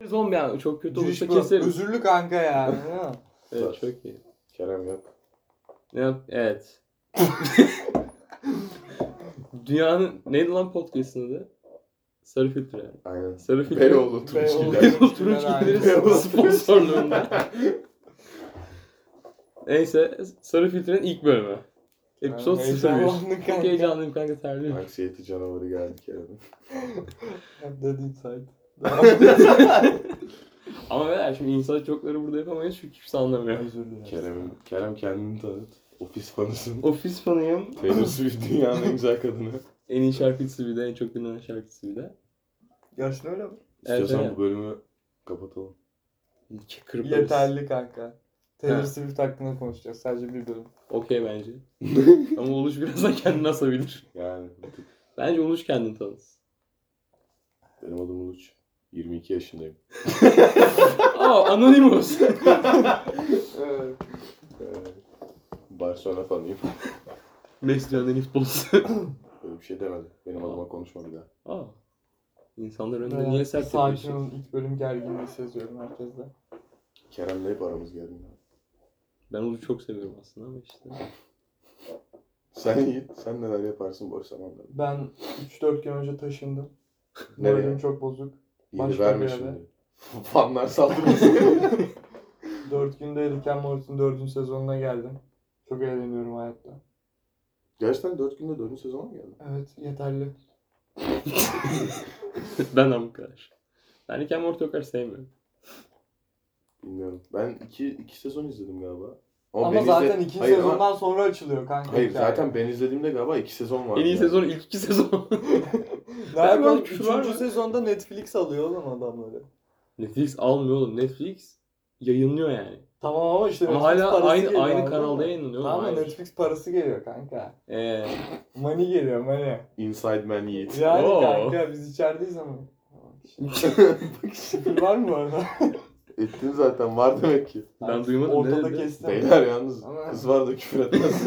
s**eriz oğlum yani. Çok kötü olursa Cüş keseriz. Özürlü kanka yani. Evet çok iyi. Kerem yap. Ne yap- Evet. Dünyanın neydi lan podcast'ın adı? Sarı filtre. Aynen. Sarı filtre. Beyoğlu Beyoğlu. Turçkiler. Oturuş gibileriz Beyoğlu. sponsorluğunda. Neyse Sarı Filtre'nin ilk bölümü. Episode 01. Heyecanlandım Çok kanka. heyecanlıyım kanka terliyorum. Anksiyeti canavarı geldi Kerem. Dead inside. Ama beyler şimdi insan çokları burada yapamayız çünkü kimse anlamıyor. Özür dilerim. Kerem, Kerem kendini tanıt. Ofis fanısın. Ofis fanıyım. Taylor Swift dünyanın en güzel kadını. En iyi şarkıcısı bir de, en çok dinlenen şarkıcısı bir de. Gerçekten öyle mi? İstiyorsan evet. bu bölümü kapatalım. Kırparız. Yeterli kanka. Taylor Ha. Swift hakkında konuşacağız. Sadece bir bölüm. Okey bence. Ama Uluş birazdan kendini asabilir. Yani bir tık. Bence Uluş kendini tanıtsın. benim adım Uluç. 22 yaşındayım. Aa Anonymous. Evet. Ee, Barcelona fanıyım. Mesut Can'ın futbolcusu. Böyle bir şey demedi. Benim adıma konuşma bir daha. Aa. İnsanlar önünde niye sert Sakin yapıyorsun? olun. İlk bölüm gerginliği seziyorum herkesle. Kerem'le hep aramız geldi. Ben Uluş'u çok seviyorum aslında ama işte. Sen Yiğit, sen neler yaparsın boş zamanlarda? Ben 3-4 gün önce taşındım. Nereye? Moralim çok bozuk. İyiliği Başka verme bir yere. şimdi. Fanlar saldırmasın. 4 günde Riken Morris'in 4. sezonuna geldim. Çok eğleniyorum hayatta. Gerçekten 4 günde 4. sezona mı geldi? Evet yeterli. ben ama bu kadar. Ben Rick and Morty o kadar sevmiyorum. Bilmiyorum. Ben 2 2 sezon izledim galiba. Ama, ben izle- zaten 2. Hayır ama- sezondan sonra açılıyor kanka. Hayır hikaye. zaten ben izlediğimde galiba 2 sezon vardı. en iyi yani. sezon ilk iki sezon. Ben Nereden? böyle küfürler Üçüncü var. sezonda Netflix alıyor oğlum adamları. Netflix almıyor oğlum. Netflix yayınlıyor yani. Tamam ama işte Ama Netflix hala parası aynı geliyor, aynı anladın mı? kanalda yayınlanıyor. oğlum, Tamam ama aynı. Netflix parası geliyor kanka. Ee, Money geliyor money. Inside Man Yiğit. Yani Oo. kanka biz içerideyiz ama. Küfür var mı orada? Ettin zaten var demek ki. ben duymadım. Ortada ne dedi? kestim. Beyler yalnız Ama- kız var da küfür etmez.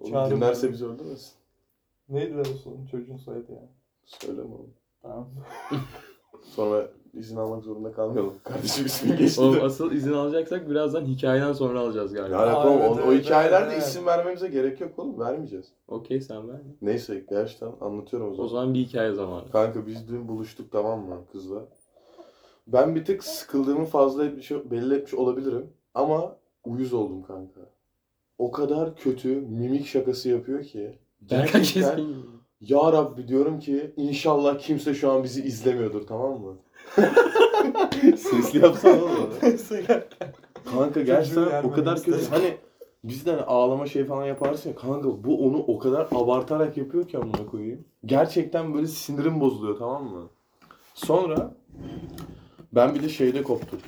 Onu Çağırın. dinlerse bizi öldürmesin. Neydi lan o son çocuğun soyadı ya? Söyleme oğlum. Tamam. Sonra izin almak zorunda kalmayalım. Kardeşim ismin geçti. Oğlum de. asıl izin alacaksak birazdan hikayeden sonra alacağız Ne galiba. alaka oğlum? O, Evet, o evet, hikayelerde evet. isim vermemize gerek yok oğlum. Vermeyeceğiz. Okey sen ver. mi? Neyse gerçekten anlatıyorum o O zaman. zaman bir hikaye zamanı. Kanka biz dün buluştuk tamam mı kızla? Ben bir tık sıkıldığımı fazla etmiş, belli etmiş olabilirim. Ama uyuz oldum kanka. O kadar kötü mimik şakası yapıyor ki. Berkay Gerçekten Keskin gibi. Ya Rabbi diyorum ki inşallah kimse şu an bizi izlemiyordur tamam mı? Sesli yapsana oğlum. Neyse Kanka Çocuğu gerçekten o yermemek kadar kötü. istedim. Hani bizden ağlama şey falan yaparsın ya kanka bu onu o kadar abartarak yapıyor ki amına koyayım. Gerçekten böyle sinirim bozuluyor tamam mı? Sonra ben bir de şeyde koptum.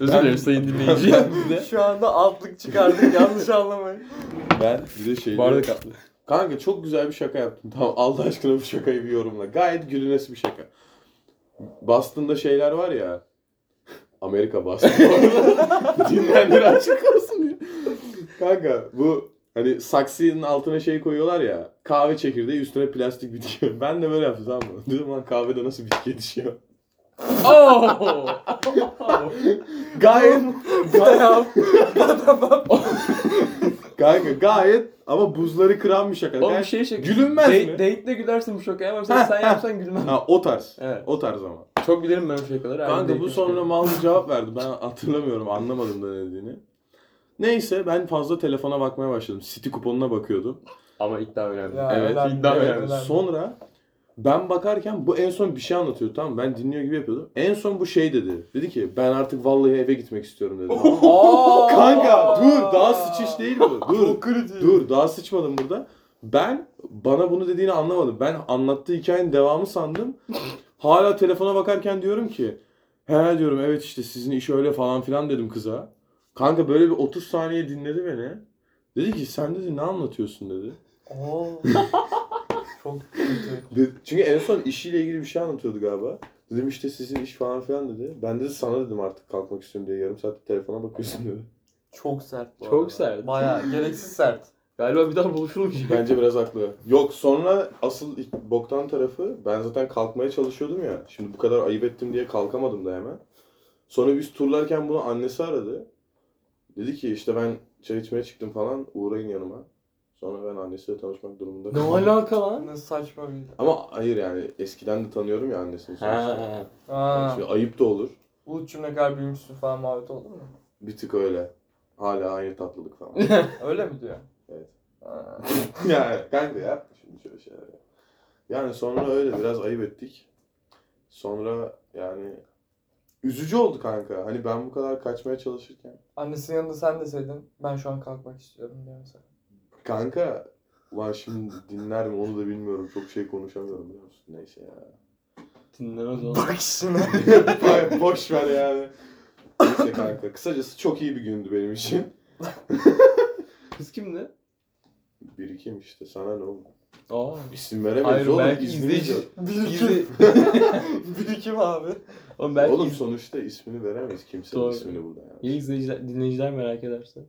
Özür Ben- dilerim sayın dinleyici. Şu anda altlık çıkardık yanlış anlamayın. Ben bir de şeyde... Bardak atlı. Kanka çok güzel bir şaka yaptın. Tamam Allah aşkına bu şakayı bir yorumla. Gayet gülünesi bir şaka. Boston'da şeyler var ya. Amerika Boston. Dinlendir açık olsun ya. Kanka bu hani saksının altına şey koyuyorlar ya. Kahve çekirdeği üstüne plastik bitki. Ben de böyle yaptım tamam mı? Dedim lan kahvede nasıl bitki yetişiyor? Oo! Gayet Tamam. kanka gayet ama buzları kıran bir şaka. Oğlum bir Gayet- şey şey. Gülünmez Date- mi? Date'le gülersin bu şoka ama sen, sen yapsan gülmem. Ha, o tarz. Evet. O tarz ama. Çok bilirim ben o şakaları. Aynı Kanka date'le bu sonra çıkıyorum. mal bir cevap verdi. Ben hatırlamıyorum anlamadım da ne dediğini. Neyse ben fazla telefona bakmaya başladım. City kuponuna bakıyordum. Ama iddia önemli. Ya, evet önemli, iddia evet, önemli. önemli. Ben- Sonra ben bakarken bu en son bir şey anlatıyor tamam mı? ben dinliyor gibi yapıyordum. En son bu şey dedi. Dedi ki ben artık vallahi eve gitmek istiyorum dedi. Tamam mı? Aa! Kanka dur daha sıçış değil bu. Dur. Çok kritik. Dur daha sıçmadım burada. Ben bana bunu dediğini anlamadım. Ben anlattığı hikayenin devamı sandım. Hala telefona bakarken diyorum ki he diyorum evet işte sizin iş öyle falan filan dedim kıza. Kanka böyle bir 30 saniye dinledi beni. Dedi ki sen dedi ne anlatıyorsun dedi. Oo. Çok kötü. Dedi- Çünkü en son işiyle ilgili bir şey anlatıyordu galiba. Dedim işte sizin iş falan filan dedi. Ben de sana dedim artık kalkmak istiyorum diye yarım saat telefona bakıyorsun dedi. Çok sert bu Çok arada. sert. Bayağı gereksiz sert. Galiba bir daha buluşulmayacak. Bence biraz haklı. Yok sonra asıl boktan tarafı ben zaten kalkmaya çalışıyordum ya. Şimdi bu kadar ayıp ettim diye kalkamadım da hemen. Sonra biz turlarken bunu annesi aradı. Dedi ki işte ben çay içmeye çıktım falan uğrayın yanıma. Sonra ben annesiyle tanışmak durumunda Ne kaldım. alaka lan? Nasıl saçma bir... Ama hayır yani eskiden de tanıyorum ya annesini. sonuçta. Ha. Aa, Şimdi ayıp da olur. Bulut'cum ne kadar büyümüşsün falan muhabbet oldu mu? Bir tık öyle. Hala aynı tatlılık falan. Öyle mi diyor? Evet. Aa. yani kanka ya. Şimdi şöyle şeyler. yap. Yani sonra öyle biraz ayıp ettik. Sonra yani üzücü oldu kanka. Hani ben bu kadar kaçmaya çalışırken. Annesinin yanında sen deseydin ben şu an kalkmak istiyorum diye mesela. Kanka ulan şimdi dinler mi onu da bilmiyorum. Çok şey konuşamıyorum biliyor musun? Neyse ya. Dinlemez oğlum. Bak işine. Vay, Boş ver yani. Neyse kanka. Kısacası çok iyi bir gündü benim için. Kız kimdi? Bir ikim işte. Sana ne oldu? Aa. İsim veremeyiz Hayır oğlum. belki İsmini izleyici. de- Birikim. İzli... Birikim abi. Oğlum belki Oğlum iz- sonuçta ismini veremeyiz. Kimsenin Doğru. ismini burada yani. Ya izleyiciler, dinleyiciler merak ederse.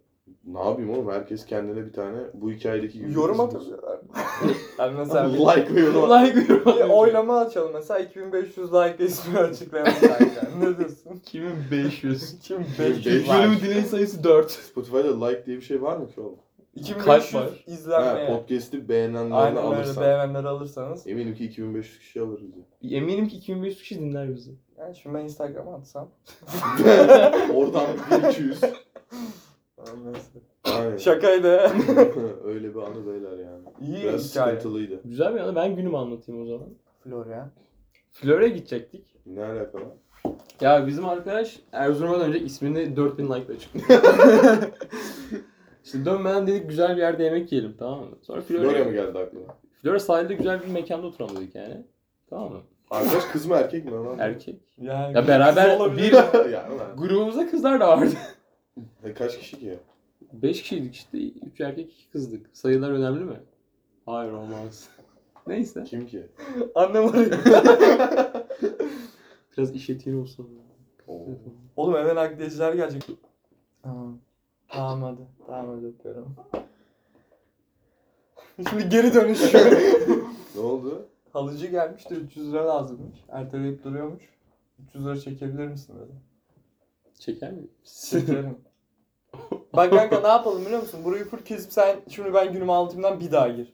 Ne yapayım oğlum herkes kendine bir tane bu hikayedeki gibi Yorum bizim- atabiliyorlar. yani mesela bir, like ve yorum at. Like bir yorum. oylama açalım mesela 2500 like ismini açıklayalım kanka. ne diyorsun? Kimin 500? Kim Beş 500 Bölümü like? dinleyici sayısı 4. Spotify'da like diye bir şey var mı ki oğlum? Kalp 2500 var. Ha, izlenme. podcast'i beğenenlerini şey. Aynen öyle alırsan. beğenenleri alırsanız. Eminim ki 2500 kişi alırız. ya. Eminim ki 2500 kişi dinler bizi. Yani şimdi ben Instagram'a atsam. Oradan 1200. Neyse. Aynen. Şakaydı. öyle bir anı beyler yani. İyi Biraz hikaye. sıkıntılıydı. Güzel bir yana ben günümü anlatayım o zaman. Florya. Flöre gidecektik. Ne alakalı? Ya bizim arkadaş Erzurum'a önce ismini 4000 like ile çıktı. işte dönmeden dedik güzel bir yerde yemek yiyelim tamam mı? Sonra Florya mı Flöre, geldi aklına? Flöre sahilde güzel bir mekanda oturalım dedik yani. Tamam mı? Arkadaş kız mı erkek mi? lan? Erkek. Yani Ya beraber bir yani lan. grubumuzda kızlar da vardı. E, kaç kişi ki? 5 kişiydik işte. 3 erkek 2 kızdık. Sayılar önemli mi? Hayır olmaz. Neyse. Kim ki? Annem arıyor. Biraz işletiğin olsun. Oo. Oğlum hemen nakliyeciler gelecek. Tamam. Tamam hadi. Tamam hadi öpüyorum. Şimdi geri dönüş. Ne oldu? Halıcı gelmişti 300 lira lazımmış. Erteleyip duruyormuş. 300 lira çekebilir misin dedi. Çeker mi? Çekerim. Bak kanka ne yapalım biliyor musun? Burayı full kesip sen şimdi ben günümü anlatayımdan bir daha gir.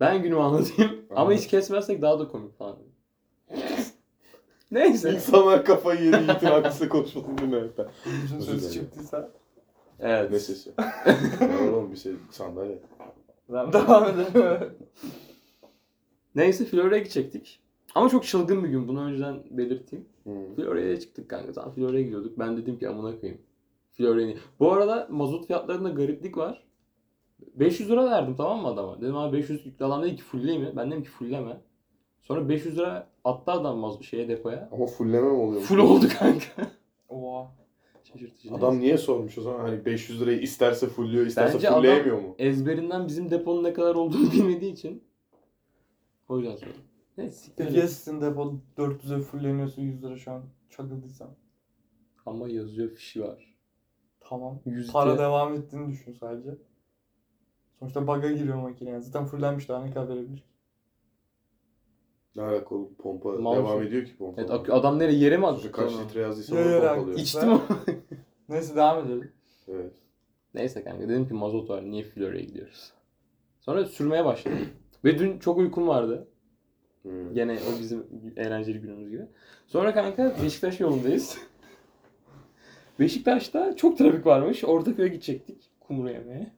Ben günümü anlatayım. Ama Anlat. hiç kesmezsek daha da komik falan. Neyse. İnsanlar kafayı yedi itirafçısı konuşmasını dinlemekten. Bütün Özür sözü dilerim. çıktıysa. Evet. Ne sesi? Ne var oğlum bir şey sandalye. Ben devam edelim. Neyse Florya'ya gidecektik. Ama çok çılgın bir gün. Bunu önceden belirteyim. Florya'ya çıktık kanka. Tam Florya'ya gidiyorduk. Ben dedim ki amına koyayım. Florya'ya. Bu arada mazot fiyatlarında gariplik var. 500 lira verdim tamam mı adama? Dedim abi 500 yüklü adam dedi ki fulleyim. Ben dedim ki fulleme. Sonra 500 lira attı adam mazot şeye depoya. Ama fulleme mi oluyor? Full oldu kanka. Oha. Şaşırtıcı. Adam niye sormuş o zaman? Hani 500 lirayı isterse fulluyor, isterse Bence fulleyemiyor mu? ezberinden bizim deponun ne kadar olduğunu bilmediği için o yüzden söyledim. Neyse siktir Peki ya et. sizin depo 400'e fulleniyorsun 100 lira şu an çakıldıysan. Ama yazıyor fişi var. Tamam. Yüzde Para devam ettiğini düşün sadece. Sonuçta bug'a giriyor makine. yani. Zaten fullenmiş daha ne kadar verebilir. Ne alaka oğlum? Pompa Mal devam mı? ediyor ki pompa. Evet, ak- adam nereye yere mi attı? Su Kaç Tamam. litre yazdıysa Ya, ya, onu ya. pompalıyor. İç- İçtim ama. Neyse devam edelim. Evet. Neyse kanka dedim ki mazot var niye Florya'ya gidiyoruz. Sonra sürmeye başladım. Ve dün çok uykum vardı. Hmm. Gene o bizim eğlenceli günümüz gibi. Sonra kanka Beşiktaş yolundayız. Beşiktaş'ta çok trafik varmış. Ortaköy'e gidecektik. Kumru yemeğe.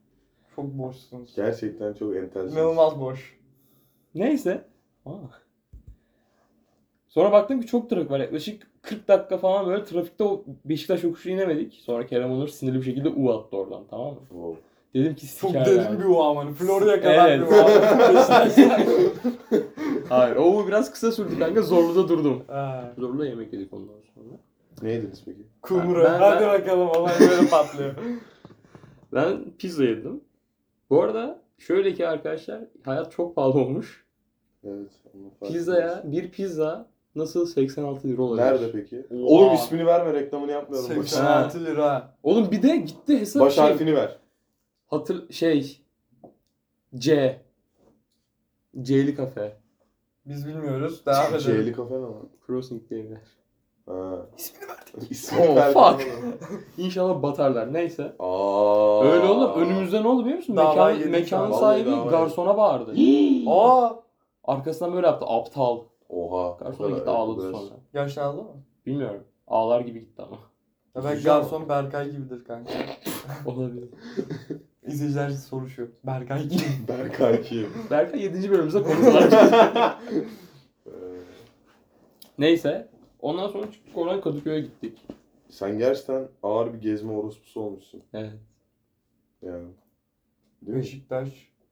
Çok boşsunuz. Gerçekten çok enteresan. İnanılmaz boş. Neyse. Aa. Sonra baktım ki çok trafik var. Yaklaşık 40 dakika falan böyle trafikte o Beşiktaş yokuşu inemedik. Sonra Kerem Onur sinirli bir şekilde U attı oradan tamam mı? Wow. Dedim ki Çok siker derin yani. bir uam hani. Florya'ya kadar Evet. bir uam. Hayır o U biraz kısa sürdü kanka. Zorlu'da durdum. Ha, Zorlu'da yemek yedik ondan sonra. Ne yediniz peki? Kumru. Ben- Hadi ben- bakalım olay böyle patlıyor. Ben pizza yedim. Bu arada şöyle ki arkadaşlar hayat çok pahalı olmuş. Evet. onu fark Pizzaya ediyoruz. bir pizza nasıl 86 lira olabilir? Nerede peki? Oha. Oğlum ismini verme reklamını yapmayalım. Baş, 86 lira. Oğlum bir de gitti hesap baş şey. harfini ver. Hatır şey C. C'li kafe. Biz bilmiyoruz. Devam edelim. Şeyli kafe ne lan? Crossing diye. Ha. İsmini verdik. İsmi Oh, verdim fuck. ama. İnşallah batarlar. Neyse. Aa. Öyle olur. Önümüzde ne oldu biliyor musun? Davayı Mekan, yedik mekanın ya. sahibi Vallahi davayı. garsona bağırdı. Aa! Arkasından böyle yaptı. Aptal. Oha. Garson Bu gitti kadar- ağladı biraz- sonra. Yaşlandı mı? Bilmiyorum. Ağlar gibi gitti ama. Ya ben Üzücü ama. garson Berkay gibidir kanka. Olabilir. İzleyiciler soruşuyor. Berkay gibi. Berkay kim? Berkay 7. bölümümüzde konuşular. Ee, Neyse. Ondan sonra çıktık oradan Kadıköy'e gittik. Sen gerçekten ağır bir gezme orospusu olmuşsun. Evet. Yani. Değil mi? Beşiktaş,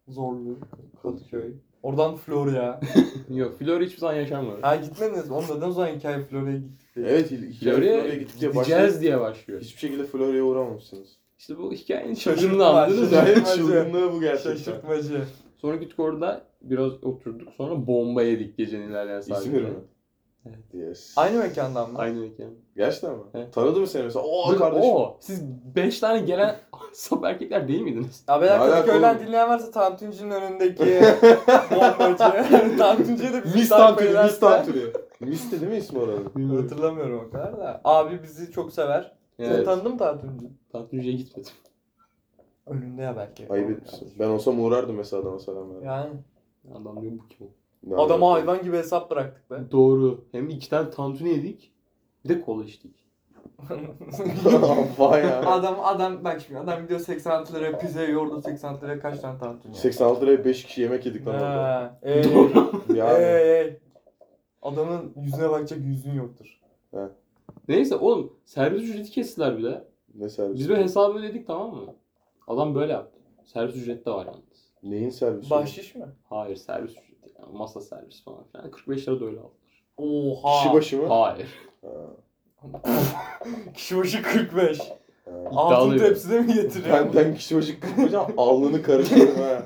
Zorlu, Kadıköy. Oradan Florya. Yok. Flora hiçbir zaman yaşanmadı. Ha gitmediniz mi? Oğlum neden o zaman hikaye Florya'ya gittik diye. Evet il- hikaye Florya'ya Florya'ya şey, gittikçe gideceğiz başlayıp diye başlıyor. hiçbir şekilde Florya'ya uğramamışsınız. İşte bu hikayenin Şaşırtma. çözümünü anladınız mı? Yani Şaşırtmacı. çılgınlığı bu gerçekten. Şaşırtmacı. Sonra gittik orada biraz oturduk. Sonra bomba yedik gecenin ilerleyen saatinde. İzmir mi? Yes. Aynı mekandan mı? Aynı mekan. Gerçekten mi? Evet. Tanıdı mı seni mesela? Oo Dur, kardeşim. oo, siz 5 tane gelen sap erkekler değil miydiniz? Ya beyler Ne alaka Kadıköy'den oğlum? dinleyen varsa Tantuncu'nun önündeki bombacı. Tantuncu'ya da bizi takip Miss Tantuni, Miss ederse- Tantuni. Miss de değil mi ismi oranın? Hatırlamıyorum o kadar da. Abi bizi çok sever. Sen Evet. tanıdın mı Tantuncu? Tantuncu'ya gitmedim. Önünde ya belki. Ayıp etmişsin. Ben olsam uğrardım mesela adama selam verdim. Yani. Adam diyor bu kim? Ne Adama alaka? hayvan gibi hesap bıraktık be. Doğru. Hem iki tane tantuni yedik. Bir de kola içtik. Vay ya. adam adam bak şimdi adam gidiyor 86 liraya pizza yiyor orada 86 liraya kaç tane tantuni yiyor. 86 liraya 5 kişi yemek yedik lan orada. Ha, ey, Yani. ey, ey. Adamın yüzüne bakacak yüzün yoktur. Neyse oğlum servis ücreti kestiler bir de. Ne servisi? Biz böyle hesabı ödedik tamam mı? Adam böyle yaptı. Servis ücreti de var yalnız. Neyin servisi? Bahşiş mi? Hayır servis ücreti. Yani masa servis falan filan. 45 lira da öyle aldılar. Oha. Kişi başı mı? Hayır. Ha, Kişi başı 45. ha. Altın İddialıyım. tepside mi getiriyor? Benden kişi başı kırpacağım alnını karıştırırım ha.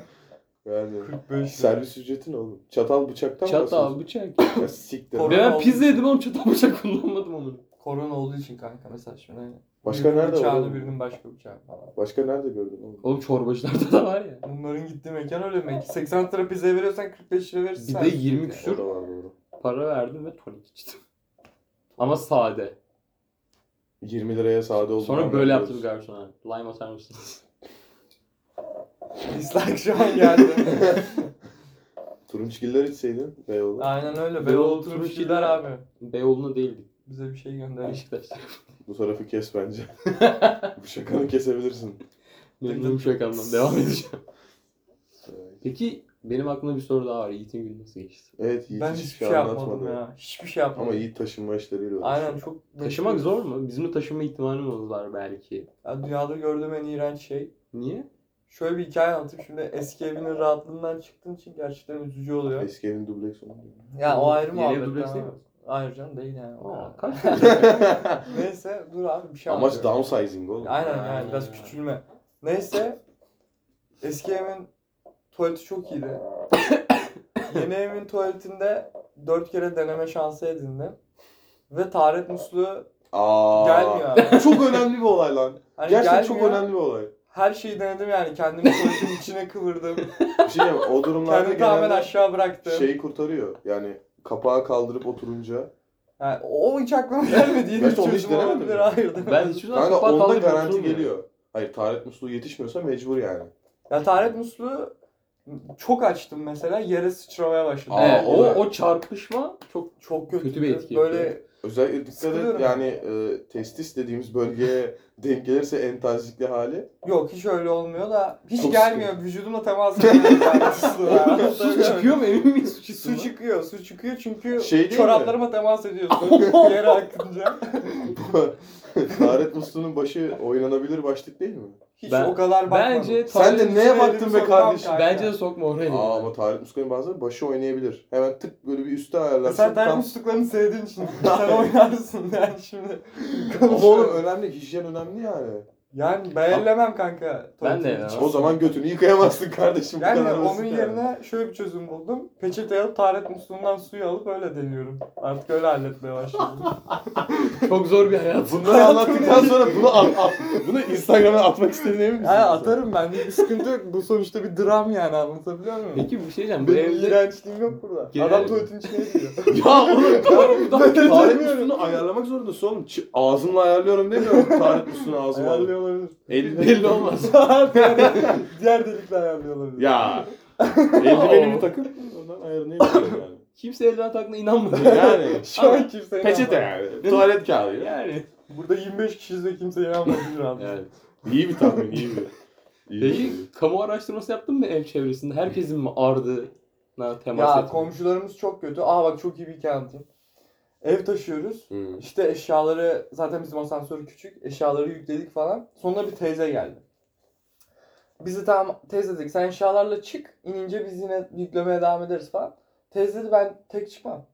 Yani. 45. Servis ücreti ne oğlum? Çatal bıçaktan Çatal, bıçak. basıyorsun? Ya siktir. Ve Korona ben olduğu pizza için. yedim oğlum çatal bıçak kullanmadım onu. Korona olduğu için kanka mesela şimdi. Başka birinin nerede var? bıçağını, oğlum? Birinin başka bıçağı falan. Başka nerede gördün oğlum? Oğlum çorbacılarda da var ya. Bunların gittiği mekan öyle mi? 80 lira pizza veriyorsan 45 lira verirsin. Bir de servis 20 ücreti. küsür. O da var doğru. Para verdim ve tonik içtim. Ama sade. 20 liraya sade oldu. Sonra böyle yaptı bir garsona. Lime atar mısınız? Dislike şu an geldi. Turunçgiller içseydin Beyoğlu. Aynen öyle. Beyoğlu Beyoğlu turunçgiller turunçgiller. abi. Beyoğlu'na değildik. Bize bir şey gönder. Beşiktaş'ta. Bu tarafı kes bence. Bu şakanı kesebilirsin. Memnunum şakamdan. Devam edeceğim. Peki benim aklımda bir soru daha var. Yiğit'in günü nasıl geçti? Evet Yiğit Ben hiçbir hiçbir şey şey yapmadım anlatmadı. ya. Hiçbir şey yapmadım. Ama Yiğit taşınma işleriyle uğraşıyor. Aynen çok... Taşımak zor mu? Bizim de taşınma ihtimalimiz var belki. Ya dünyada gördüğüm en iğrenç şey. Niye? Şöyle bir hikaye anlatayım. Şimdi eski evinin rahatlığından çıktığın için gerçekten üzücü oluyor. Ya Eski evin dubleks oldu. o ayrı Yeni ev muhabbet. dubleks ama- değil mi? Hayır canım değil yani. Aa, O- kaç Neyse dur abi bir şey Amaç anlatıyorum. downsizing oğlum. Aynen yani biraz Aynen. küçülme. Neyse. Eski evin tuvaleti çok iyiydi. Yeni evin tuvaletinde dört kere deneme şansı edindim. Ve taharet musluğu Aa. gelmiyor abi. çok önemli bir olay lan. Hani Gerçekten gelmiyor. çok önemli bir olay. Her şeyi denedim yani. Kendimi tuvaletin içine kıvırdım. Bir şey diyeyim mi? o durumlarda Kendimi tamamen genelde şey- aşağı bıraktım. şeyi kurtarıyor. Yani kapağı kaldırıp oturunca. Yani o hiç aklıma gelmedi. Yeni Ben bir onu hiç çözüm denemedim olabilir. ya. Hayır demedim. Ben hiçbir zaman Kanka kapağı onda kaldırıp garanti oturmuyorum. geliyor. Hayır taharet musluğu yetişmiyorsa mecbur yani. Ya taharet musluğu çok açtım mesela. Yere sıçramaya başladı. Aa, Evet, o, olay. o çarpışma çok Çok kötü. Kötü bir etki Böyle Özellikle dikkat Sıkılıyorum. et yani e, testis dediğimiz bölgeye denk gelirse entazikli hali. Yok hiç öyle olmuyor da hiç Çok gelmiyor. Vücudumla temas ediyor. yani su ya. su çıkıyor mu emin miyiz su Su çıktığına? çıkıyor, su çıkıyor çünkü Şey değil mi? çoraplarıma temas ediyorsun yere akınca. taharet musluğunun başı oynanabilir başlık değil mi? Hiç Ben- o kadar bakmadım. Bence Sen de taharet, neye Şöyle bir baktın be sorun kardeşim? var bence de sokma oraya. Aa ama taharet musluğunun bazıları başı oynayabilir. Hemen tık böyle bir üste Ya ayarlarsan Sen tam... tam musluklarını sevdiğin için sen oynarsın yani şimdi. Ama oğlum önemli, hijyen önemli yani. Yani beğenlemem kanka. Ben de tuvaletini. ya. O zaman götünü yıkayamazsın kardeşim. bu Yani kadar onun basit yani. yerine şöyle bir çözüm buldum. Peçete alıp taharet musluğundan suyu alıp öyle deniyorum. Artık öyle halletmeye başladım. Çok zor bir hayat. Bunları anlattıktan sonra bunu at, at- bunu Instagram'a atmak istediğini emin misin? yani atarım ben. Bir sıkıntı yok. Bu sonuçta bir dram yani anlatabiliyor muyum? Peki bir şey diyeceğim. Bu Benim evde... iğrençliğim yok burada. Genel- Adam tuvaletin içine giriyor. Ya oğlum Harbiden Tarih üstünü ayarlamak zorundasın oğlum. Ç- ağzımla ayarlıyorum demiyorum tarih üstünü ağzımla. ayarlıyor olabilir. El, belli olmaz. diğer, diğer delikle ayarlıyor olabilir. ya. Eldivenimi takıp ondan ayarını yapıyorum yani. Kimse elden taktığına inanmadı. Yani Şu an kimse peçete inanmaz. yani. Tuvalet kağıdı. Yani. yani. Burada 25 kişiyiz ve kimse inanmadı abi. Evet. İyi bir tahmin, iyi bir. İyi bir şey. tahmin. Peki kamu araştırması yaptın mı ev çevresinde? Herkesin mi ardına temas Ya ettin? komşularımız çok kötü. Aa bak çok iyi bir hikaye anlatayım. Ev taşıyoruz. Hı. İşte eşyaları zaten bizim asansör küçük. Eşyaları yükledik falan. Sonra bir teyze geldi. Bizi tamam teyze dedik sen eşyalarla çık. İnince biz yine yüklemeye devam ederiz falan. Teyze dedi ben tek çıkmam.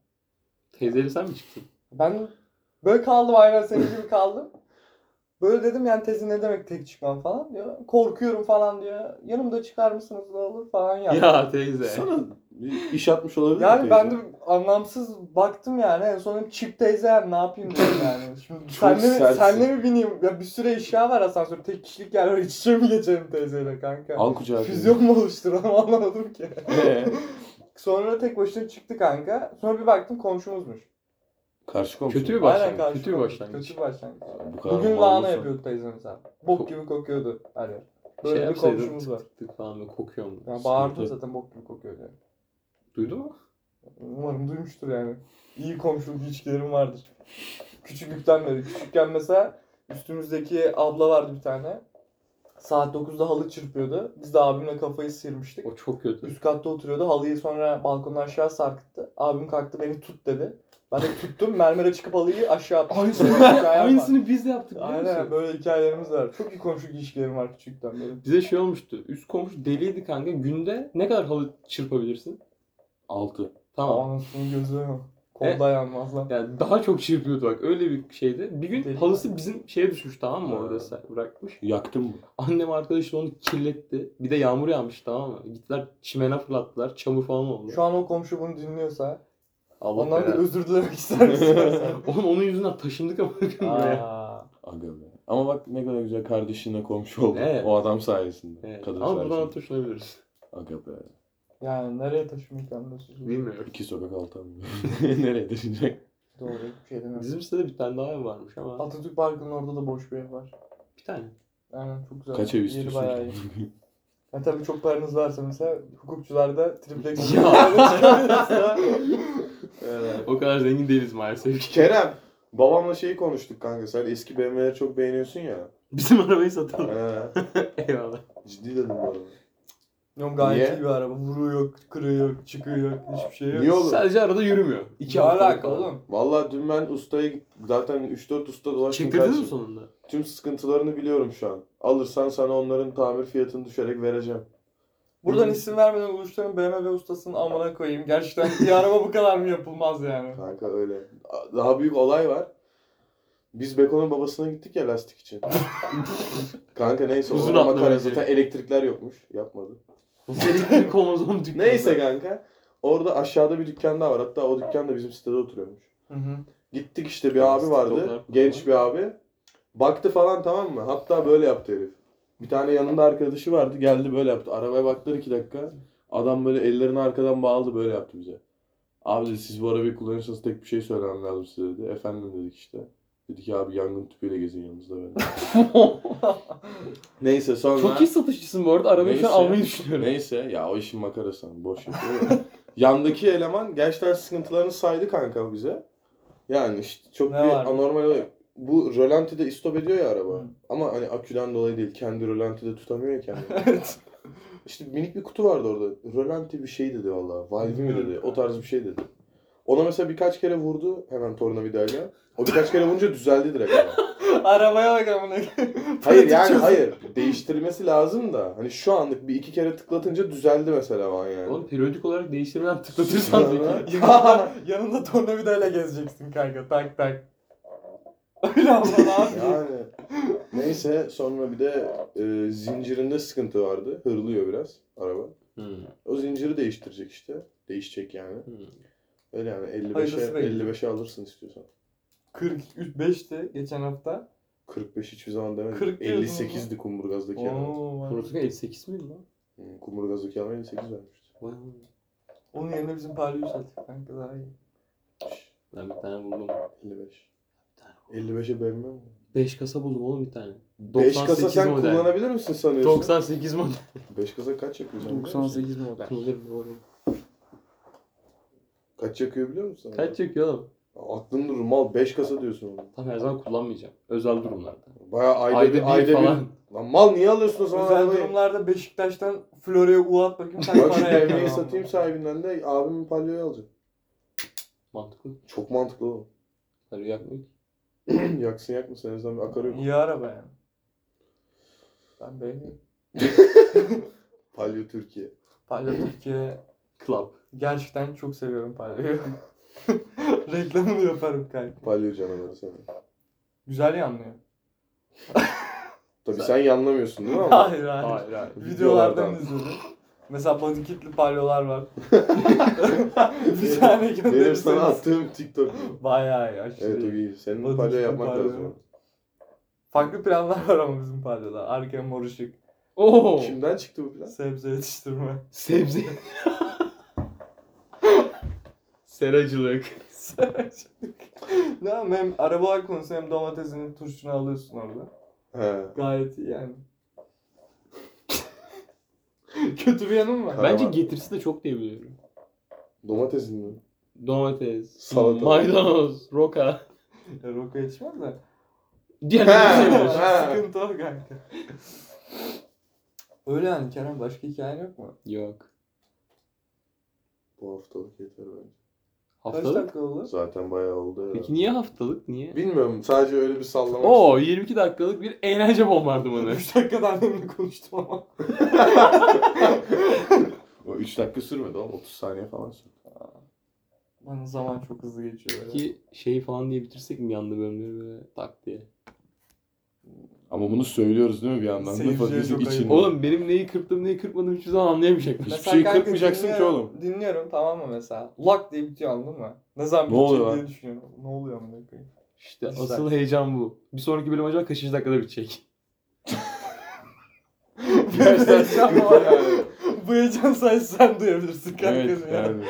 Teyzeyle sen mi çıktın? Ben böyle kaldım aynen senin gibi kaldım. Böyle dedim yani teyze ne demek tek çıkmam falan diyor. Korkuyorum falan diyor. Yanımda çıkar mısınız ne olur falan yaptı. Ya teyze. Sana bir iş atmış olabilir mi Yani ben de teyze? anlamsız baktım yani. En son çık teyze yani ne yapayım dedim yani. Şimdi Çok senle, mi, sertsin. senle mi bineyim? Ya bir sürü eşya var asansör. Tek kişilik yer var. İç içe mi geçelim teyzeyle kanka? Al kucağa. Füzyon mu oluşturalım anlamadım ki. Ee, Sonra tek başına çıktı kanka. Sonra bir baktım komşumuzmuş. Karşı komşu. Kötü bir Aynen başlangıç. karşı Kötü bir komşu. başlangıç. Kötü bir başlangıç. Bu kadar Bugün mal lahana olursa- yapıyordu teyzem mesela. Bok gibi kokuyordu. Hani Şey böyle bir yapsaydın komşumuz var. tık tık falan böyle kokuyor mu? Yani bağırdım Sıkıntı. zaten bok gibi kokuyordu. yani. Duydu mu? Umarım duymuştur yani. İyi komşuluk ilişkilerim vardır. Küçüklükten beri. Küçükken mesela üstümüzdeki abla vardı bir tane. Saat 9'da halı çırpıyordu. Biz de abimle kafayı sıyırmıştık. O çok kötü. Üst katta oturuyordu. Halıyı sonra balkondan aşağı sarkıttı. Abim kalktı beni tut dedi. Ben de tuttum. Mermere çıkıp halıyı aşağı attım. Hikayem var. Aynısını biz de yaptık biliyor Aynen musun? böyle hikayelerimiz var. Çok iyi komşuluk ilişkilerim var küçükten beri. Bize şey olmuştu. Üst komşu deliydi kanka. Günde ne kadar halı çırpabilirsin? Altı. Tamam. Anasını gözüme. Kolda yanmaz lan. Yani daha çok çırpıyordu bak. Öyle bir şeydi. Bir gün Deli. halısı bizim şeye düşmüş tamam mı? Ha. Orada sen bırakmış. Yaktın mı? Annem arkadaşla onu kirletti. Bir de yağmur yağmış tamam mı? Gittiler çimene fırlattılar. Çamur falan oldu. Şu an o komşu bunu dinliyorsa Allah Ondan bir belanı. özür dilemek ister misin? Oğlum onun yüzünden taşındık ama buraya. Aga be. Ama bak ne kadar güzel kardeşinle komşu oldun. Evet. O adam sayesinde. Evet. Kadın Ama sayesinde. buradan taşınabiliriz. Aga be. yani nereye taşımayı planlıyorsunuz? Bilmiyorum. İki sokak altı mı? Nereye düşünecek? Doğru bir şey demiyorum. Bizim sitede bir tane daha ev varmış ama Atatürk Parkı'nın orada da boş bir ev var. bir tane. Aynen çok güzel. Kaç ev Yeri istiyorsun bayağı ki? iyi. Yani tabii çok paranız varsa mesela hukukçularda triplex Ya. O kadar zengin değiliz maalesef ki. Kerem. Babamla şeyi konuştuk kanka. Sen eski BMW'leri çok beğeniyorsun ya. Bizim arabayı satalım. He. Eyvallah. Ciddi dedim bu arada. Yok gayet iyi Niye? bir araba. Vuruyor yok, kırıyor yok, çıkıyor yok, hiçbir şey yok. Niye oğlum? Sadece arada yürümüyor. İki İki hafta alaka oğlum. Vallahi dün ben ustaya gittim. Zaten 3-4 usta dolaştım. Çektirdin mi kardeşim. sonunda? Tüm sıkıntılarını biliyorum şu an. Alırsan sana onların tamir fiyatını düşerek vereceğim. Buradan isim vermeden Uluşların BMW ustasının amına koyayım. Gerçekten bir araba bu kadar mı yapılmaz yani? Kanka öyle. Daha büyük olay var. Biz Beko'nun babasına gittik ya lastik için. Kanka neyse Uzun Uzun atlı makara bence. zaten elektrikler yokmuş. Yapmadı. Elektrik kromozom dükkanı. Neyse kanka. Orada aşağıda bir dükkan daha var. Hatta o dükkan da bizim sitede oturuyormuş. Hı hı. Gittik işte bir abi vardı. Genç bir abi. Baktı falan tamam mı? Hatta böyle yaptı herif. Bir tane yanında arkadaşı vardı. Geldi böyle yaptı. Arabaya baktılar iki dakika. Adam böyle ellerini arkadan bağladı böyle yaptı bize. Abi dedi, siz bu arabayı kullanırsanız tek bir şey söylemem lazım size dedi. Efendim dedik işte. Dedi ki abi yangın tüpüyle gezin yanınızda böyle. Neyse sonra... Çok iyi satışçısın bu arada. Arabayı şu an Neyse. almayı düşünüyorum. Neyse ya o işin makarası hani, boş yapıyor ya. Yandaki eleman gerçekten sıkıntılarını saydı kanka bize. Yani işte çok Ne bir var? anormal olay. Bu rölantide istop ediyor ya araba. Hı. Ama hani aküden dolayı değil. Kendi rölantide tutamıyor ya kendini. Evet. işte minik bir kutu vardı orada. Rölanti bir şey dedi valla. Valve mi Bilmiyorum. dedi. O tarz bir şey dedi. Ona mesela birkaç kere vurdu hemen tornavidayla. O birkaç kere vurunca düzeldi direkt ama. Arabaya bak amına Hayır yani hayır. Değiştirmesi lazım da. Hani şu anlık bir iki kere tıklatınca düzeldi mesela falan yani. Oğlum periyodik olarak değiştirmeden tıklatırsan Sonra- peki. Yanında, yanında tornavidayla gezeceksin kanka tak tak. Öyle ama ne yapayım? Yani neyse sonra bir de e, zincirinde sıkıntı vardı. Hırlıyor biraz araba. Hmm. O zinciri değiştirecek işte. Değişecek yani. Hmm. Öyle yani 55'e Hayırlısı belli. 55'e alırsın istiyorsan. 43.5'ti geçen hafta. 45 hiçbir zaman demedim. 40 diyordun 58'di Kumburgaz'daki yani. Oo, vay. Portugal 58 miydi lan? Hı, Kumburgaz'daki yani 58 vermişti. Vay. Onun yerine bizim parayı yükselttik kanka daha iyi. Şş, Ben bir tane buldum. 55. 55'e beğenmem mi? 5 kasa buldum oğlum bir tane. 5 kasa 98 sen model. kullanabilir misin sanıyorsun? 98 model. 5 kasa kaç yakıyor? sen biliyor musun? 98 model. Kullanırım oğlum. Kaç yakıyor biliyor musun? sen? Kaç çekiyor oğlum? Aklın durur. Mal 5 kasa diyorsun oğlum. Tam her zaman kullanmayacağım. Özel durumlarda. Baya ayda, Ayda bir, ayda bir falan. bir. Lan mal niye alıyorsun o zaman Özel arabayı? durumlarda Beşiktaş'tan Florya'ya ulat bakayım sen Bak şimdi para yakar. evliyi satayım sahibinden de abimin palyoyu alacağım. Mantıklı. Çok mantıklı oğlum. Sarı yakmıyor ki. Yaksın yakmasın en azından bir akar yok. İyi araba yani. Ben beğeniyorum. Palyo Türkiye. Palyo Türkiye Club. gerçekten çok seviyorum Palyo'yu. Reklamını yaparım kanka. Palyo canavarı seni. Güzel yanlıyor. Tabii Sen- sen yanlamıyorsun değil mi ama? Hayır hayır. Hayır hayır. Videolardan Videolardan. izledim. Mesela bodycitli palyolar var. bir tane Benim sana gönderirseniz. attığım TikTok. Bayağı iyi aşırı. Evet o iyi. Senin O palyo TikTok yapmak palyo. lazım. Farklı planlar var ama bizim palyoda. Arka mor ışık, Oo. Kimden çıktı bu plan? sebze yetiştirme. Sebze. Seracılık. ne yapayım hem arabalar konusu hem domatesini turşunu alıyorsun orada. He. Gayet iyi yani. Kötü bir yanım var. Karavan. Bence getirisi de çok diye biliyorum. Domatesin mi? Domates, Salata. maydanoz, roka. Ya, Roka içmez de. Diğer He. ne Ha. Sıkıntı o kanka. Öyle yani Kerem başka hikayen yok mu? Yok. Bu haftalık yeter bence. Kaç Haftalık? dakika oldu? Zaten bayağı oldu herhalde. Peki niye haftalık? Niye? Bilmiyorum sadece öyle bir sallamak Oo 22 dakikalık bir eğlence bombardımanı. 3 dakikada annemle konuştum ama. O 3 dakika sürmedi oğlum 30 saniye falan sürdü. Bana zaman çok hızlı geçiyor böyle. Ki şey falan diye bitirsek mi yandı bölümleri böyle tak diye. Ama bunu söylüyoruz değil mi bir yandan? Seyirciye Laf ediyorsun çok ayıp. içinde. Oğlum benim neyi kırptım neyi kırpmadım hiçbir zaman anlayamayacaklar. Hiçbir Mesela şeyi kanka şey kırpmayacaksın ki dinliyorum- oğlum. Dinliyorum tamam mı mesela? Lak diye bitiyor anladın mı? Ne zaman Ne bitecek oluyor diye lan? düşünüyorum. Ne oluyor amına koyayım? İşte İşte. asıl heyecan bu. Bir sonraki bölüm acaba kaçıncı dakikada bitecek? Gerçekten sıkıntı yani. Bu heyecan sayesinde sen duyabilirsin kanka. Evet ya. yani.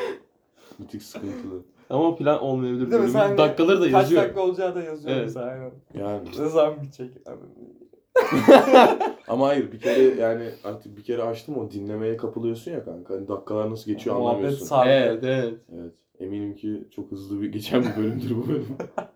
Bir tık sıkıntılı. Ama o plan olmayabilir. Bir de Bölümün mesela hani dakikaları da Kaç yazıyor. dakika olacağı da yazıyor Evet. mesela aynen. Yani. Ne zaman bitecek? Abi, Ama hayır bir kere yani artık bir kere açtım o dinlemeye kapılıyorsun ya kanka. Hani dakikalar nasıl geçiyor Muhabbet anlamıyorsun. sardı. Evet evet. Evet. Eminim ki çok hızlı bir geçen bir bölümdür bu bölüm.